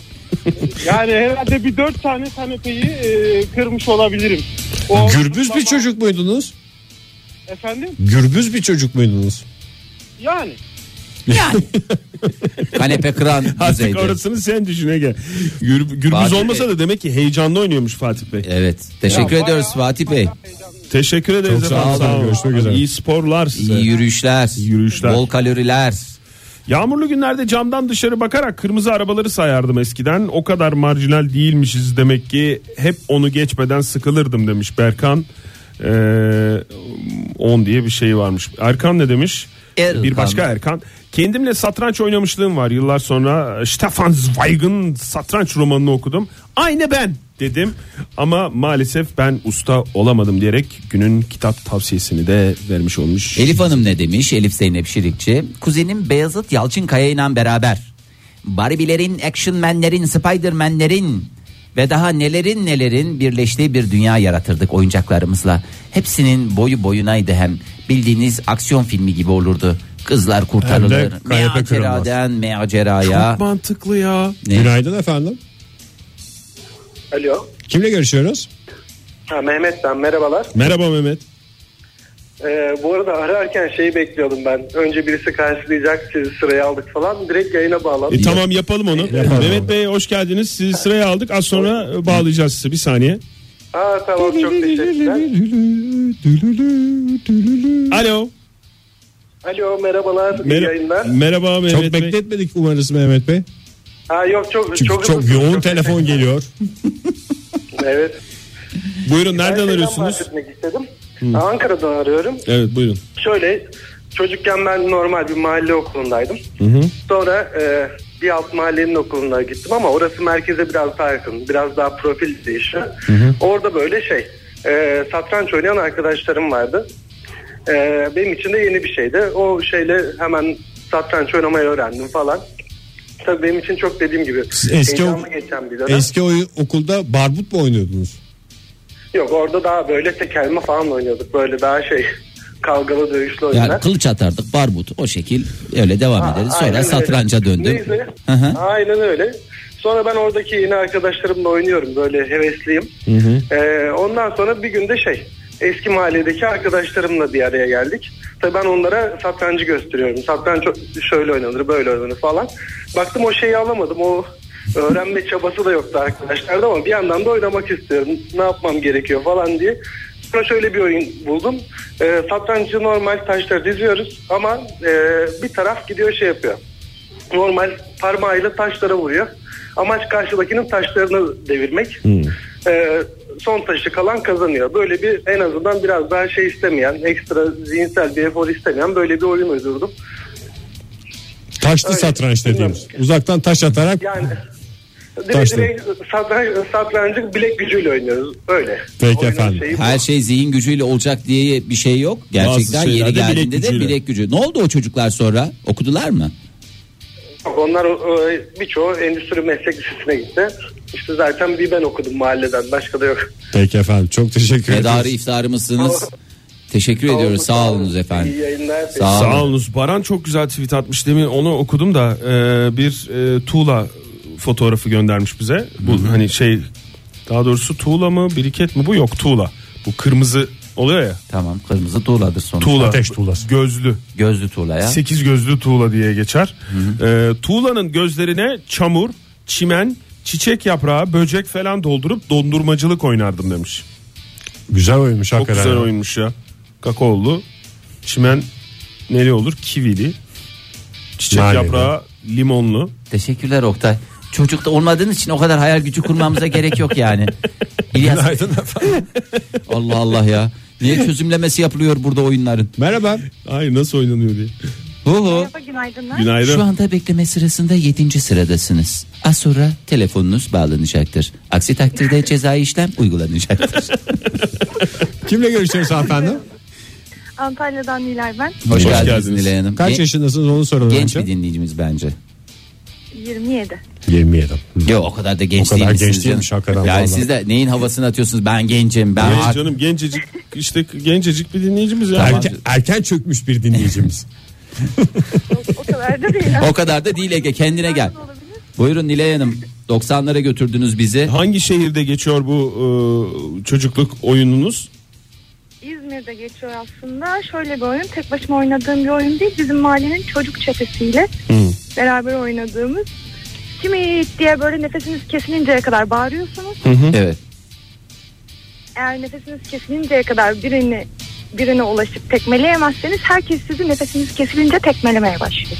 Yani herhalde bir dört tane kanepeyi e, kırmış olabilirim. O
Gürbüz bir
zaman-
çocuk muydunuz?
Efendim?
Gürbüz bir çocuk muydunuz?
Yani.
Yani. kanepe kıran
Artık
düzeyde.
orasını sen düşün Ege. Gür- gürbüz
Fatih
olmasa
Bey.
da demek ki heyecanlı oynuyormuş Fatih Bey.
Evet. Teşekkür
Ya
ediyoruz
bayağı-
Fatih Bey.
bayağı heyecanlı.
Teşekkür ederiz
Çok sağ
efendim.
olun, görüşmek üzere.
İyi sporlar size.
İyi yürüyüşler.
yürüyüşler.
Bol kaloriler.
Yağmurlu günlerde camdan dışarı bakarak kırmızı arabaları sayardım eskiden. O kadar marjinal değilmişiz demek ki hep onu geçmeden sıkılırdım demiş Berkan. Ee, 10 diye bir şey varmış. Erkan ne demiş?
Erkan.
Bir başka Erkan. Kendimle satranç oynamışlığım var. Yıllar sonra Stefan Zweig'ın satranç romanını okudum. Aynı ben dedim. Ama maalesef ben usta olamadım diyerek günün kitap tavsiyesini de vermiş olmuş.
Elif Hanım ne demiş? Elif Zeynep Şirikçi. Kuzenim Beyazıt Yalçınkaya ile beraber. Barbie'lerin, Action Man'lerin, Spider-Man'lerin ve daha nelerin nelerin birleştiği bir dünya yaratırdık oyuncaklarımızla. Hepsinin boyu boyunaydı hem. Bildiğiniz aksiyon filmi gibi olurdu. Kızlar kurtarılır.
Hem de kayabe
Meaceradan meaceraya.
Çok mantıklı ya.
Ne?
Günaydın efendim.
Alo.
Kimle görüşüyoruz?
Ha, Mehmet ben merhabalar.
Merhaba Mehmet.
Ee, bu arada ararken şeyi bekliyordum ben. Önce birisi karşılayacak sizi sıraya aldık falan. Direkt yayına bağlan.
E, tamam yapalım onu. Mehmet Bey hoş geldiniz. Sizi sıraya aldık. Az sonra e, bağlayacağız sizi. Bir saniye.
Ha tamam çok teşekkürler.
Alo.
Alo merhabalar. iyi
Mer-
yayınlar.
Merhaba Mehmet
Çok
Bey.
bekletmedik umarız Mehmet Bey.
Ha yok çok
Çünkü çok,
çok,
yoğun telefon geliyor.
Evet.
Buyurun nereden
Ben şeyden
arıyorsunuz?
bahsetmek istedim. Ankara'dan arıyorum.
Evet buyurun.
Şöyle çocukken ben normal bir mahalle okulundaydım. Sonra e, bir alt mahallenin okuluna gittim ama orası merkeze biraz daha yakın. Biraz daha profil değişiyor. Orada böyle şey e, satranç oynayan arkadaşlarım vardı. E, benim için de yeni bir şeydi. O şeyle hemen satranç oynamayı öğrendim falan. Tabii benim için çok dediğim gibi
Siz eski
heyecanlı
ok-
geçen bir dönem.
Eski oy- okulda barbut mu oynuyordunuz?
Yok orada daha böyle tekelme falan oynuyorduk. Böyle daha şey kavgalı dövüşlü oyunlar.
Yani kılıç atardık barbut o şekil öyle devam ederiz.
Aynen
Sonra
öyle.
satranca döndüm.
Neyse.
Hı hı.
Aynen öyle. Sonra ben oradaki yeni arkadaşlarımla oynuyorum. Böyle hevesliyim. Ee, ondan sonra bir günde şey eski mahalledeki arkadaşlarımla bir araya geldik. Tabii ben onlara satrancı gösteriyorum. Satranç şöyle oynanır böyle oynanır falan. Baktım o şeyi alamadım. O öğrenme çabası da yoktu arkadaşlarda ama bir yandan da oynamak istiyorum. Ne yapmam gerekiyor falan diye. Sonra şöyle bir oyun buldum. Ee, satrancı normal taşları diziyoruz ama e, bir taraf gidiyor şey yapıyor. Normal parmağıyla taşlara vuruyor. Amaç karşıdakinin taşlarını devirmek.
Hmm.
Ee, son taşı kalan kazanıyor. Böyle bir en azından biraz daha şey istemeyen, ekstra zihinsel bir efor istemeyen böyle bir oyun uydurdum.
Taşlı
Öyle.
satranç dediğimiz. Uzaktan taş atarak
Yani direkt,
Taşlı.
direkt satranç, satrancı bilek gücüyle oynuyoruz. Öyle.
Peki
Oyunun
efendim.
şeyi bu.
Her şey zihin gücüyle olacak diye bir şey yok. Gerçekten
Bazı
yeri
şeylerde
geldiğinde
bilek
de
gücüyle.
bilek gücü. Ne oldu o çocuklar sonra? Okudular mı?
Onlar e, birçoğu endüstri meslek lisesine gitti. İşte zaten bir ben okudum mahalleden başka da yok.
Peki efendim çok teşekkür
Medarı
ederiz.
iftarımızsınız. Teşekkür ediyoruz. Sağ olunuz efendim.
İyi yayınlar.
Sağ olun.
Sağ olunuz. Baran çok güzel tweet atmış demin onu okudum da e, bir e, tuğla fotoğrafı göndermiş bize. Bu hani şey daha doğrusu tuğla mı biriket mi bu yok tuğla. Bu kırmızı oluyor ya
Tamam kırmızı tuğladır sonuçta.
tuğla.
Ateş tuğlası.
Gözlü.
Gözlü tuğla ya.
Sekiz gözlü tuğla diye geçer. E, tuğlanın gözlerine çamur, çimen, çiçek yaprağı, böcek falan doldurup dondurmacılık oynardım demiş.
Güzel oyunmuş
Çok
hakikaten.
güzel oyunmuş ya. Kakaolu, çimen neli olur? Kivili. Çiçek
Naneli.
yaprağı limonlu.
Teşekkürler Oktay. Çocukta olmadığın için o kadar hayal gücü kurmamıza gerek yok yani. İlyas. Allah Allah ya. Niye çözümlemesi yapılıyor burada oyunların?
Merhaba.
Ay nasıl oynanıyor diye.
Hu hu.
Merhaba günaydınlar.
Günaydın.
Şu anda bekleme sırasında 7. sıradasınız. Az sonra telefonunuz bağlanacaktır. Aksi takdirde cezai işlem uygulanacaktır.
Kimle görüşüyoruz hanımefendi?
Antalya'dan Nilay ben.
Hoş,
Hoş
geldiniz,
geldiniz.
Nilay Hanım.
Kaç
Gen-
yaşındasınız onu soralım
genç
önce.
bir dinleyicimiz bence.
27.
27.
Yok o kadar da genç
O kadar
değilmişsiniz
genç değilmiş
canım.
hakikaten
Yani
vallahi.
siz de neyin havasını atıyorsunuz? Ben gencim. Ben
Genç
art-
canım gencecik işte gencecik bir dinleyicimiz ya.
Erken, erken çökmüş bir dinleyicimiz.
O kadar da değil.
O kadar da değil Ege kendine gel.
Olabilir.
Buyurun Nilay Hanım 90'lara götürdünüz bizi.
Hangi şehirde geçiyor bu e, çocukluk oyununuz?
İzmir'de geçiyor aslında. Şöyle bir oyun. Tek başıma oynadığım bir oyun değil. Bizim mahallenin çocuk çetesiyle beraber oynadığımız. Kimi diye böyle nefesiniz kesilinceye kadar bağırıyorsunuz.
Evet.
Eğer nefesiniz kesilinceye kadar birini birine ulaşıp tekmeleyemezseniz herkes sizi nefesiniz kesilince tekmelemeye başlıyor.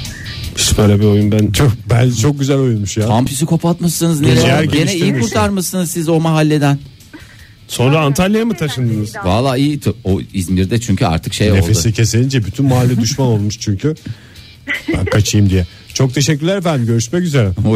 Hiç böyle bir oyun ben çok
Ben çok güzel oyunmuş ya.
Tam psikopat mısınız Nilay
Geceler
Hanım? Gene iyi
geliştirmiş.
kurtarmışsınız siz o mahalleden.
Sonra Antalya'ya mı taşındınız?
Valla iyi. t- O İzmir'de çünkü artık şey
Nefesi
oldu.
kesilince bütün mahalle düşman olmuş çünkü. Ben kaçayım diye. Çok teşekkürler efendim. Görüşmek üzere.
Hoşçakalın.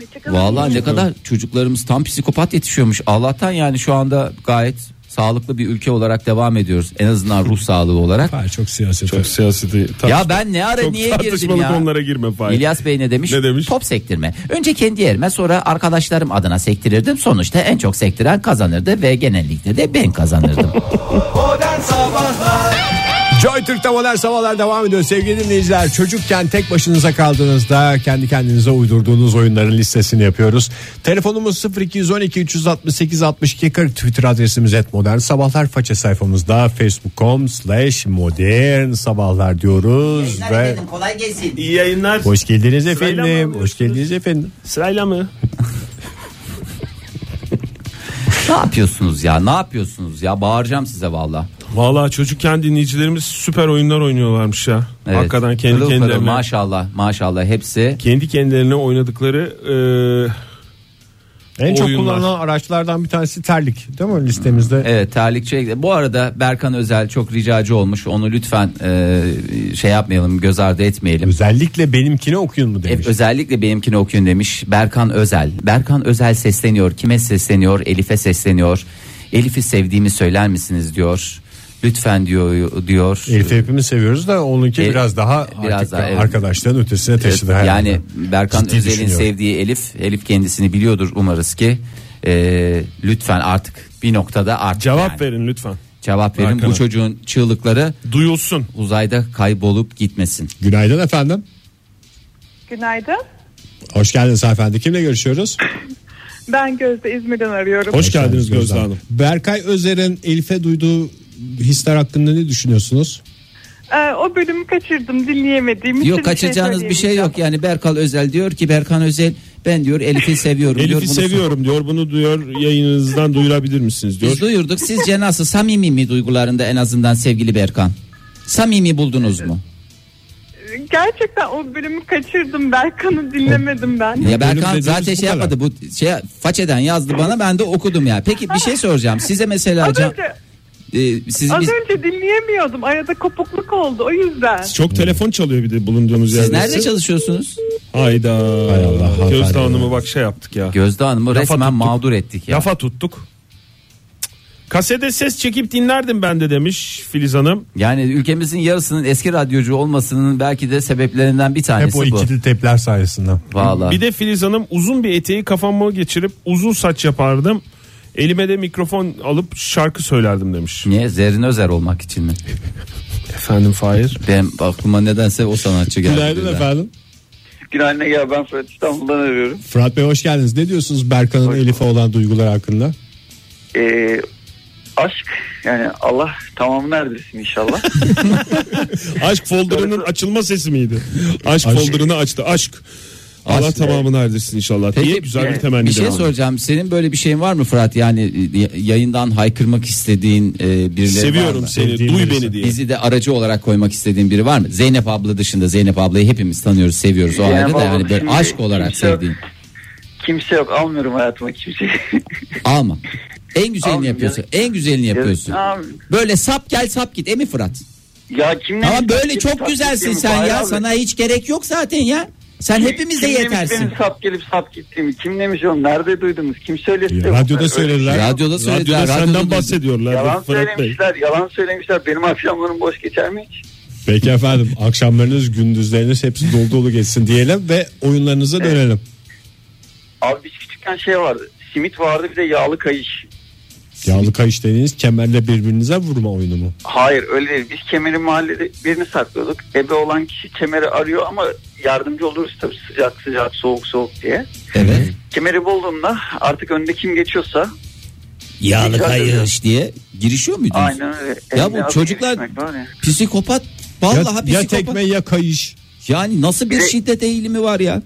Hoşçakalın.
Valla ne kadar çocuklarımız tam psikopat yetişiyormuş. Allah'tan yani şu anda gayet sağlıklı bir ülke olarak devam ediyoruz. En azından ruh sağlığı olarak.
Ha, çok siyaset.
Çok siyaseti.
Ya ben ne ara
çok
niye girdim
tartışmalı
ya?
konulara girme Fahir.
İlyas Bey ne demiş?
Ne demiş?
Top sektirme. Önce kendi yerime sonra arkadaşlarım adına sektirirdim. Sonuçta en çok sektiren kazanırdı ve genellikle de ben kazanırdım.
Modern Sabahlar
Joy Türk'te modern sabahlar devam ediyor. Sevgili dinleyiciler çocukken tek başınıza kaldığınızda kendi kendinize uydurduğunuz oyunların listesini yapıyoruz. Telefonumuz 0212 368 62 40 Twitter adresimiz et modern sabahlar faça sayfamızda facebook.com slash modern sabahlar diyoruz ve
kolay gelsin.
İyi yayınlar.
hoş geldiniz
Sırayla mı
efendim.
alıyorsunuz?
Hoş geldiniz efendim.
Sırayla mı?
Ne yapıyorsunuz ya? Ne yapıyorsunuz ya? Bağıracağım size valla.
Valla çocukken dinleyicilerimiz süper oyunlar oynuyorlarmış ya.
Evet.
Hakikaten kendi
Pırıl pırıl,
kendilerine.
Maşallah maşallah hepsi.
kendi kendilerine oynadıkları e,
En çok
Oyunlar.
kullanılan araçlardan bir tanesi terlik değil mi listemizde?
Evet terlikçi. Bu arada Berkan Özel çok ricacı olmuş. Onu lütfen e, şey yapmayalım göz ardı etmeyelim.
Özellikle benimkini okuyun mu
Hep
demiş.
özellikle benimkini okuyun demiş Berkan Özel. Berkan Özel sesleniyor. Kime sesleniyor? Elif'e sesleniyor. Elif'i sevdiğimi söyler misiniz diyor. Lütfen diyor diyor.
Elif'i hepimiz seviyoruz da onunki
E,
biraz daha
biraz
artık
daha, evet.
arkadaşların ötesine taşıdı.
Evet,
herhalde.
yani Berkan
Ciddi
Özel'in
düşünüyorum.
sevdiği Elif. Elif kendisini biliyordur umarız ki. Ee, lütfen artık bir noktada artık
cevap
yani.
verin lütfen.
Cevap verin.
Berkan'a.
Bu çocuğun çığlıkları
Duyulsun.
uzayda kaybolup gitmesin.
Günaydın efendim.
Günaydın.
Hoş geldiniz efendim. Kimle görüşüyoruz?
Ben Gözde İzmir'den arıyorum.
Hoş geldiniz Gözde Hanım.
Berkay Özer'in Elif'e duyduğu hisler hakkında ne düşünüyorsunuz?
Ee, o bölümü kaçırdım dinleyemediğim için.
şey Yok kaçıracağınız bir şey yok yani Berkan Özel diyor ki Berkan Özel Ben diyor Elif'i seviyorum diyor.
Elif'i
Bunu-
seviyorum diyor. Bunu duyuyor yayınınızdan duyurabilir misiniz diyor.
Biz duyurduk. Sizce nasıl samimi mi duygularında en azından sevgili Berkan? Samimi buldunuz mu?
Gerçekten o bölümü kaçırdım. Berkan'ı dinlemedim ben.
Ya
Bölüm
Berkan
dediğimiz
zaten
bu
şey
kadar.
yapmadı. Bu şey façeden yazdı bana ben de okudum ya. Peki bir şey soracağım. Size mesela
Az
can,
önce,
e, siz
az
biz-
önce dinleyemiyordum. Arada kopukluk oldu o yüzden.
Çok telefon çalıyor bir şey. de bulunduğunuz yerde.
siz nerede çalışıyorsunuz?
Hayda.
Hay Allah,
Gözde
hay
Hanım'ı
Allah.
bak şey yaptık ya.
Gözde Hanım'ı
Lafa
resmen
tuttuk.
mağdur ettik ya.
Lafa tuttuk. Cık. Kasede ses çekip dinlerdim ben de demiş Filiz Hanım.
Yani ülkemizin yarısının eski radyocu olmasının belki de sebeplerinden bir
Hep
tanesi
o
bu.
ikili tepler sayesinde.
Valla.
Bir de Filiz Hanım uzun bir eteği kafama geçirip uzun saç yapardım. Elime de mikrofon alıp şarkı söylerdim demiş.
Niye? Zerrin Özer olmak için mi?
Efendim Fahir.
Benim aklıma nedense o sanatçı geldi. birden.
efendim.
Günaydın Ege ben Fırat İstanbul'dan arıyorum.
Fırat Bey hoş geldiniz. Ne diyorsunuz Berkan'ın Elif'e olan duyguları hakkında?
Ee, aşk yani Allah tamamını erdirsin inşallah.
Aşk folderının açılma sesi miydi? Aşk, folderını açtı. Aşk. Allah
Aşk.
tamamını erdirsin inşallah.
Peki,
diye güzel bir
yani
temenni
Bir şey
devam.
soracağım. Senin böyle bir şeyin var mı Fırat? Yani e, yayından haykırmak istediğin e, birileri var mı?
Seviyorum seni.
Sevdiğin
Duy
birisi.
beni diye.
Bizi de aracı olarak koymak istediğin biri var mı? Zeynep abla dışında Zeynep ablayı hepimiz tanıyoruz, seviyoruz o
Zeynep
ayrı da
abla
yani böyle
şimdi
aşk olarak
kimse yok.
sevdiğin.
kimse yok almıyorum hayatıma kimseyi.
Alma. En güzelini
Almayacağım.
yapıyorsun. En güzelini yapıyorsun.
Abi,
Böyle sap gel sap git. E mi Fırat?
ya kim ne
Ama
bilir,
böyle
kim
çok
sap
güzelsin
gittiğimi,
sen
Fahir
ya.
abi.
Sana hiç gerek yok zaten ya. Sen hepimize
Kim demiş
yetersin.
benim sap gelip sap gittiğimi kim demiş onu nerede duydunuz kim söylesin de-
Radyoda
Öyle-
söylediler.
Radyoda söylediler.
Radyoda senden
radyoda-
bahsediyorlar.
Yalan
Fırat Bey.
söylemişler yalan söylemişler benim akşamlarım boş geçer mi hiç?
Peki efendim akşamlarınız gündüzleriniz hepsi dolu dolu geçsin diyelim ve oyunlarınıza dönelim.
Abi biz küçükken şey vardı simit vardı bir de yağlı kayış.
Yağlı kayış dediğiniz kemerle birbirinize vurma oyunu mu?
Hayır öyle değil. Biz kemeri mahallede birini saklıyorduk. Ebe olan kişi kemeri arıyor ama yardımcı oluruz tabii sıcak sıcak soğuk soğuk diye.
Evet.
Kemeri bulduğumda artık önde kim geçiyorsa
Yağlı
Rica ederim.
kayış diye girişiyor muydunuz?
aynen öyle.
Ya
Eline
bu
alıp
çocuklar-
geçmek var ya.
Psikopat.
Ya,
Vallahi
ya
psikopat.
tekme ya kayış.
Yani nasıl bir şiddet eğilimi var ya?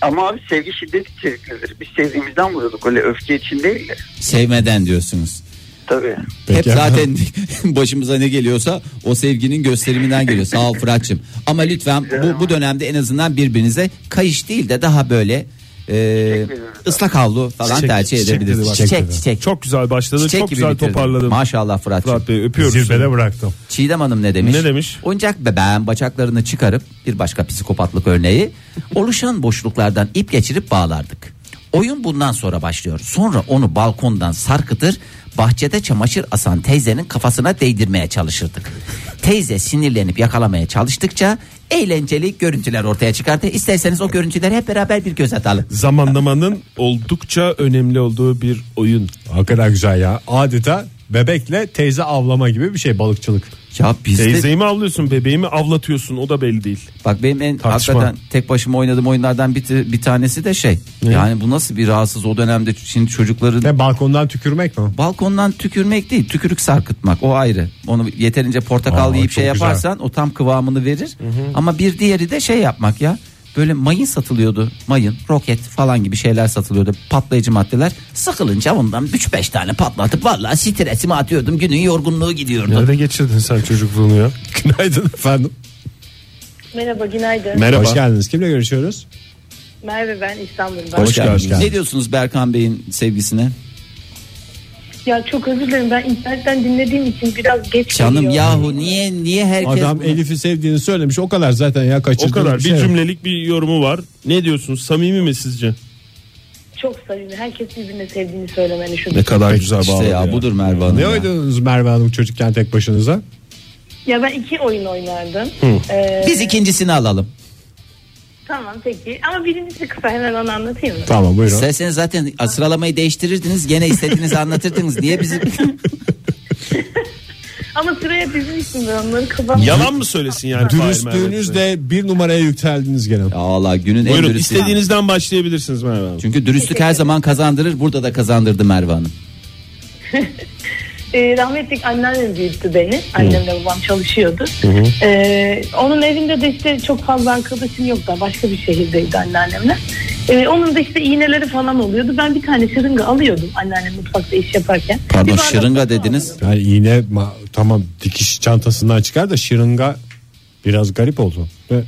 Ama abi sevgi şiddet içeriklidir. Biz sevdiğimizden vuruyorduk öyle öfke için değil de.
Sevmeden diyorsunuz.
Tabii.
Peki
Hep
efendim.
zaten başımıza ne geliyorsa o sevginin gösteriminden geliyor. Sağ ol Fırat'cığım. Ama lütfen bu, bu dönemde en azından birbirinize kayış değil de daha böyle e, ıslak havlu falan
Çiçek-
tercih
çiçek dedi
edebilirsiniz.
bak.
Çiçek çiçek.
dedi.
Çiçek,
Çok güzel başladı. çok
gibi
güzel
bitirdin.
toparladın.
Maşallah Fırat'cığım.
Fırat Bey öpüyoruz.
Zirvede
seni.
bıraktım.
Çiğdem Hanım ne demiş?
Ne demiş?
Oyuncak bebeğin bacaklarını çıkarıp bir başka psikopatlık örneği oluşan boşluklardan ip geçirip bağlardık. Oyun bundan sonra başlıyor. Sonra onu balkondan sarkıtır, bahçede çamaşır asan teyzenin kafasına değdirmeye çalışırdık. Teyze sinirlenip yakalamaya çalıştıkça eğlenceli görüntüler ortaya çıkardı. İsterseniz o görüntüleri hep beraber bir göz atalım.
Zamanlamanın oldukça önemli olduğu bir oyun.
Hakikaten güzel ya. Adeta bebekle teyze avlama gibi bir şey balıkçılık.
Ya bizde
Teyzeyi mi avlıyorsun bebeği mi avlatıyorsun o da belli değil.
Bak benim en
Tartışma.
hakikaten tek başıma oynadığım oyunlardan bir, bir tanesi de şey. Yani bu nasıl bir rahatsız o dönemde şimdi çocukların
Ne balkondan tükürmek mi?
balkondan tükürmek değil tükürük sarkıtmak o ayrı. Onu yeterince portakal
Aa,
yiyip
çok
şey
güzel.
yaparsan o tam kıvamını verir. Ama bir diğeri de şey yapmak ya. Böyle mayın satılıyordu. Mayın, roket falan gibi şeyler satılıyordu. Patlayıcı maddeler. Sıkılınca bundan 3-5 tane patlatıp vallahi stresimi atıyordum. Günün yorgunluğu gidiyordu.
Nerede geçirdin sen çocukluğunu ya?
Günaydın efendim.
Merhaba günaydın.
Merhaba.
Hoş geldiniz. Kimle görüşüyoruz?
Merve ben İstanbul'dan.
Hoş geldin, hoş geldin.
Ne diyorsunuz Berkan Bey'in sevgisine?
Ya çok özür dilerim ben internetten dinlediğim için biraz geç
Canım
geliyor.
yahu niye niye herkes
Adam
bunu-
Elif'i sevdiğini söylemiş. O kadar zaten ya
O
kaçırdığım
kadar bir
şey yok.
cümlelik bir yorumu var. Ne diyorsunuz samimi mi sizce?
Çok samimi. Herkes birbirine sevdiğini söylemeli şu.
kadar güzel
İşte ya, budur Merve Hanım.
Ne
ya.
oynadınız Merve Hanım çocukken tek başınıza?
Ya ben iki oyun oynardım. Ee,
Biz ikincisini alalım.
Tamam peki. Ama birincisi kısa hemen onu anlatayım mı?
Tamam buyurun.
İsterseniz zaten sıralamayı değiştirirdiniz gene istediğinizi anlatırdınız. Niye bizi
Ama sıraya dizin için ben onları kafam.
Yalan mı söylesin yani? Dürüstlüğünüz
Dürüstlüğünüz de bir numaraya yükseldiniz gene.
Ya Allah günün en
Buyurun
dürüstü.
istediğinizden başlayabilirsiniz Merve Hanım.
Çünkü dürüstlük her zaman kazandırır. Burada da kazandırdı Merve Hanım.
e, rahmetli anneannem büyüttü beni. Annemle babam çalışıyordu. E, onun evinde de işte çok fazla arkadaşım yoktu. Başka bir şehirdeydi anneannemle. E, onun da işte iğneleri falan oluyordu. Ben bir tane şırınga alıyordum anneannem mutfakta iş yaparken. Bir
Pardon
bardak
şırınga
su
dediniz.
Yani iğne ma- tamam dikiş çantasından çıkar da şırınga biraz garip oldu. Ve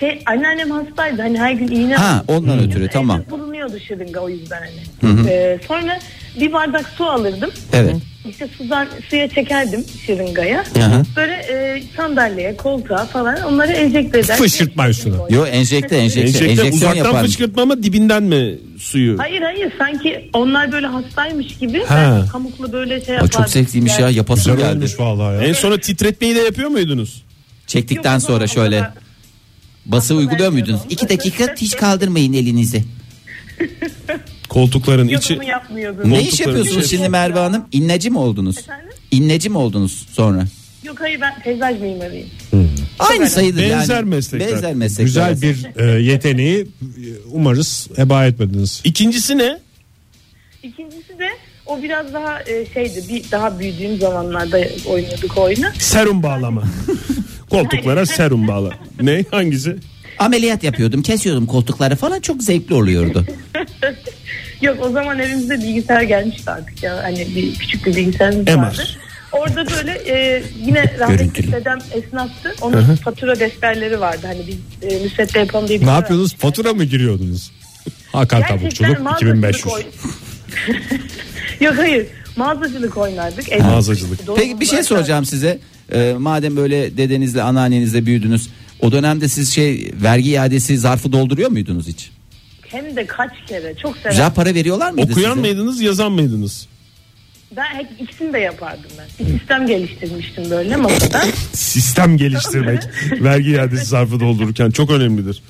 Şey, anneannem hastaydı. Hani her gün iğne
Ha ondan ötürü
Evde
tamam.
Bulunuyordu şırınga o yüzden hani. E, sonra bir bardak su alırdım.
Evet.
İşte sudan suya çekerdim şırıngaya.
hı.
Böyle e, sandalyeye, koltuğa falan onları enjekte eder.
Fışırtma üstüne.
Yo enjekte enjekte
Enjekte,
enjeksiyon
uzaktan
yapar.
fışkırtma mı dibinden mi suyu?
Hayır hayır sanki onlar böyle hastaymış gibi
Ha.
ben pamuklu böyle şey
Aa,
yapardım.
Çok zevkliymiş ya
Yani-
yapasım
güzel
geldi.
olmuş vallahi ya.
En sonra titretmeyi de yapıyor muydunuz?
Çektikten
Yok,
sonra
ama-
şöyle
ama-
bası
ama
uyguluyor
ben
muydunuz?
yapıyorum.
İki dakika hiç kaldırmayın elinizi.
Koltukların
Yok
içi
onu yapmıyordum.
Ne
Koltukları
iş yapıyorsunuz
içeri-
şimdi Merve Hanım? İnneci mi oldunuz?
Efendim?
İnneci mi oldunuz sonra?
Yok hayır ben peyzaj mimarıyım.
Aynı sayılır yani.
Benzer meslekler.
Benzer meslekler.
Güzel bir e, yeteneği e, umarız heba etmediniz.
İkincisi ne?
İkincisi de o biraz daha e, şeydi bir daha büyüdüğüm zamanlarda oynuyorduk o oyunu.
Serum bağlama. Koltuklara serum bağla. Ne hangisi?
Ameliyat yapıyordum kesiyordum koltukları falan çok zevkli oluyordu.
Yok o zaman evimizde bilgisayar gelmişti artık ya. Hani bir küçük bir bilgisayarımız
MR.
vardı. Orada böyle e, yine rahmetli
Görüntülü.
dedem esnaftı. Onun fatura defterleri vardı. Hani biz e, müsvedde yapalım diye. bir
Ne
şey
yapıyorsunuz? Fatura mı giriyordunuz? Hakan Tabukçuluk
Gerçekten mağazacılık
2500.
oyn- Yok hayır. Mağazacılık oynardık. E, Evde
Mağazacılık.
işte
Peki bir şey
dolabımız var.
soracağım size. Ee, madem böyle dedenizle anneannenizle büyüdünüz. O dönemde siz şey vergi iadesi zarfı dolduruyor muydunuz hiç?
Hem de kaç kere. Çok severdim.
Güzel para veriyorlar mıydı size?
Okuyan mıydınız yazan mıydınız?
Ben hep ikisini de yapardım ben. Bir sistem geliştirmiştim böyle masada.
Sistem geliştirmek. Vergi iadesi zarfı doldururken çok önemlidir.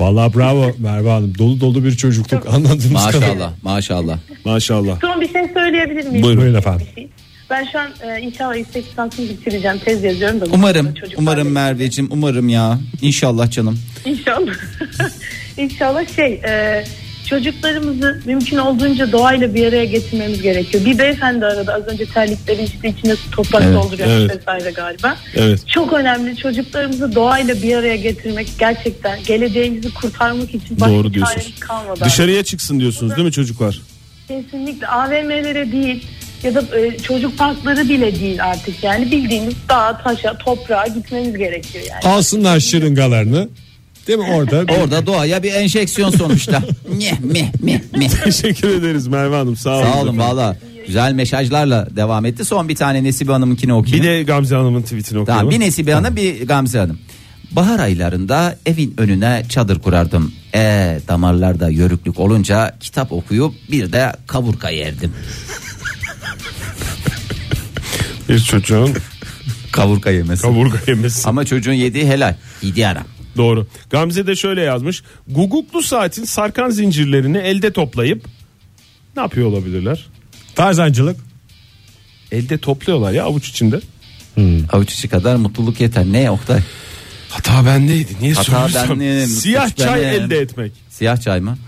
Vallahi bravo Merve Hanım. Dolu dolu bir çocukluk anladığımız kadarıyla.
Maşallah maşallah.
Maşallah.
Son bir şey söyleyebilir miyim?
Buyurun. Buyurun efendim.
Bir şey. Ben şu an e, inşallah yüksek lisansımı bitireceğim. Tez yazıyorum da.
Umarım
Çocuklar
umarım
da-
Merveciğim umarım ya. İnşallah canım.
İnşallah. inşallah şey e, çocuklarımızı mümkün olduğunca doğayla bir araya getirmemiz gerekiyor. Bir beyefendi arada az önce terlikleri işte içine toprak
Evet,
dolduruyor
evet.
vesaire galiba.
Evet.
Çok önemli çocuklarımızı doğayla bir araya getirmek gerçekten geleceğimizi kurtarmak için başka
Doğru diyorsunuz.
çaremiz kalmadı.
Dışarıya çıksın diyorsunuz değil mi çocuklar?
Kesinlikle AVM'lere değil ya da e, çocuk parkları bile değil artık yani bildiğimiz dağa taşa toprağa gitmemiz gerekiyor yani.
Alsınlar şırıngalarını. Değil mi orada? bir-
Orada doğaya bir enjeksiyon sonuçta. Meh meh meh meh.
Teşekkür ederiz Merve Hanım sağ olun.
Sağ olun valla. Güzel mesajlarla devam etti. Son bir tane Nesibe Hanım'ınkini
Bir
okuyayım.
de Gamze Hanım'ın tweetini okuyalım.
Tamam bir Nesibe Hanım bir Gamze Hanım. Bahar aylarında evin önüne çadır kurardım. E damarlarda yörüklük olunca kitap okuyup bir de kaburga yerdim.
Bir çocuğun
Kaburga yemesi.
kaburga yemesi.
Ama çocuğun yediği helal. Yedi ara.
Doğru. Gamze de şöyle yazmış. Guguklu saatin sarkan zincirlerini elde toplayıp ne yapıyor olabilirler?
Tarzancılık.
Elde topluyorlar ya avuç içinde.
Avuç içi kadar mutluluk yeter. Ne Oktay?
Hata bendeydi. Niye
Hata
soruyorsam?
benim,
Siyah
suç
çay
benim.
elde etmek.
Siyah çay mı?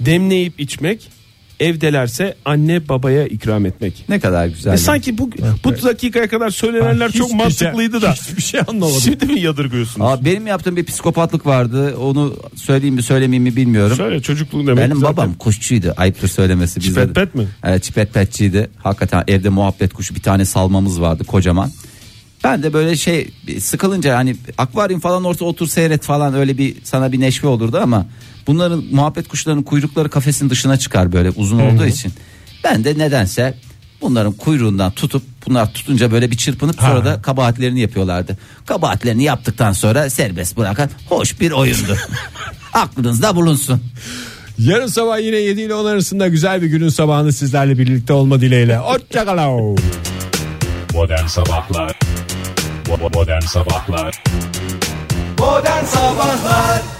Demleyip içmek. Evdelerse anne babaya ikram etmek.
Ne kadar güzel.
E
ya.
sanki bu bu dakikaya kadar söylenenler çok
Hiçbir
mantıklıydı
şey-
da.
Hiçbir şey anlamadım.
Şimdi mi yadırgıyorsunuz?
Aa, benim yaptığım bir psikopatlık vardı. Onu söyleyeyim mi söylemeyeyim mi bilmiyorum.
Şöyle çocukluğun demek.
Benim
zaten.
babam kuşçuydu. Ayıptır söylemesi. bizde
Çipet
de-
pet mi?
Evet çipet petçiydi. Hakikaten evde muhabbet kuşu bir tane salmamız vardı kocaman. Ben de böyle şey sıkılınca hani akvaryum falan orta otur seyret falan öyle bir sana bir neşve olurdu ama bunların muhabbet kuşlarının kuyrukları kafesin dışına çıkar böyle uzun olduğu için. Ben de nedense bunların kuyruğundan tutup bunlar tutunca böyle bir çırpınıp sonra da kabahatlerini yapıyorlardı. Kabahatlerini yaptıktan sonra serbest bırakan hoş bir oyundu. Aklınızda bulunsun.
Yarın sabah yine 7 ile 10 arasında güzel bir günün sabahını sizlerle birlikte olma dileğiyle. Hoşçakalın.
Modern Sabahlar Bo- Modern Sabahlar
Modern Sabahlar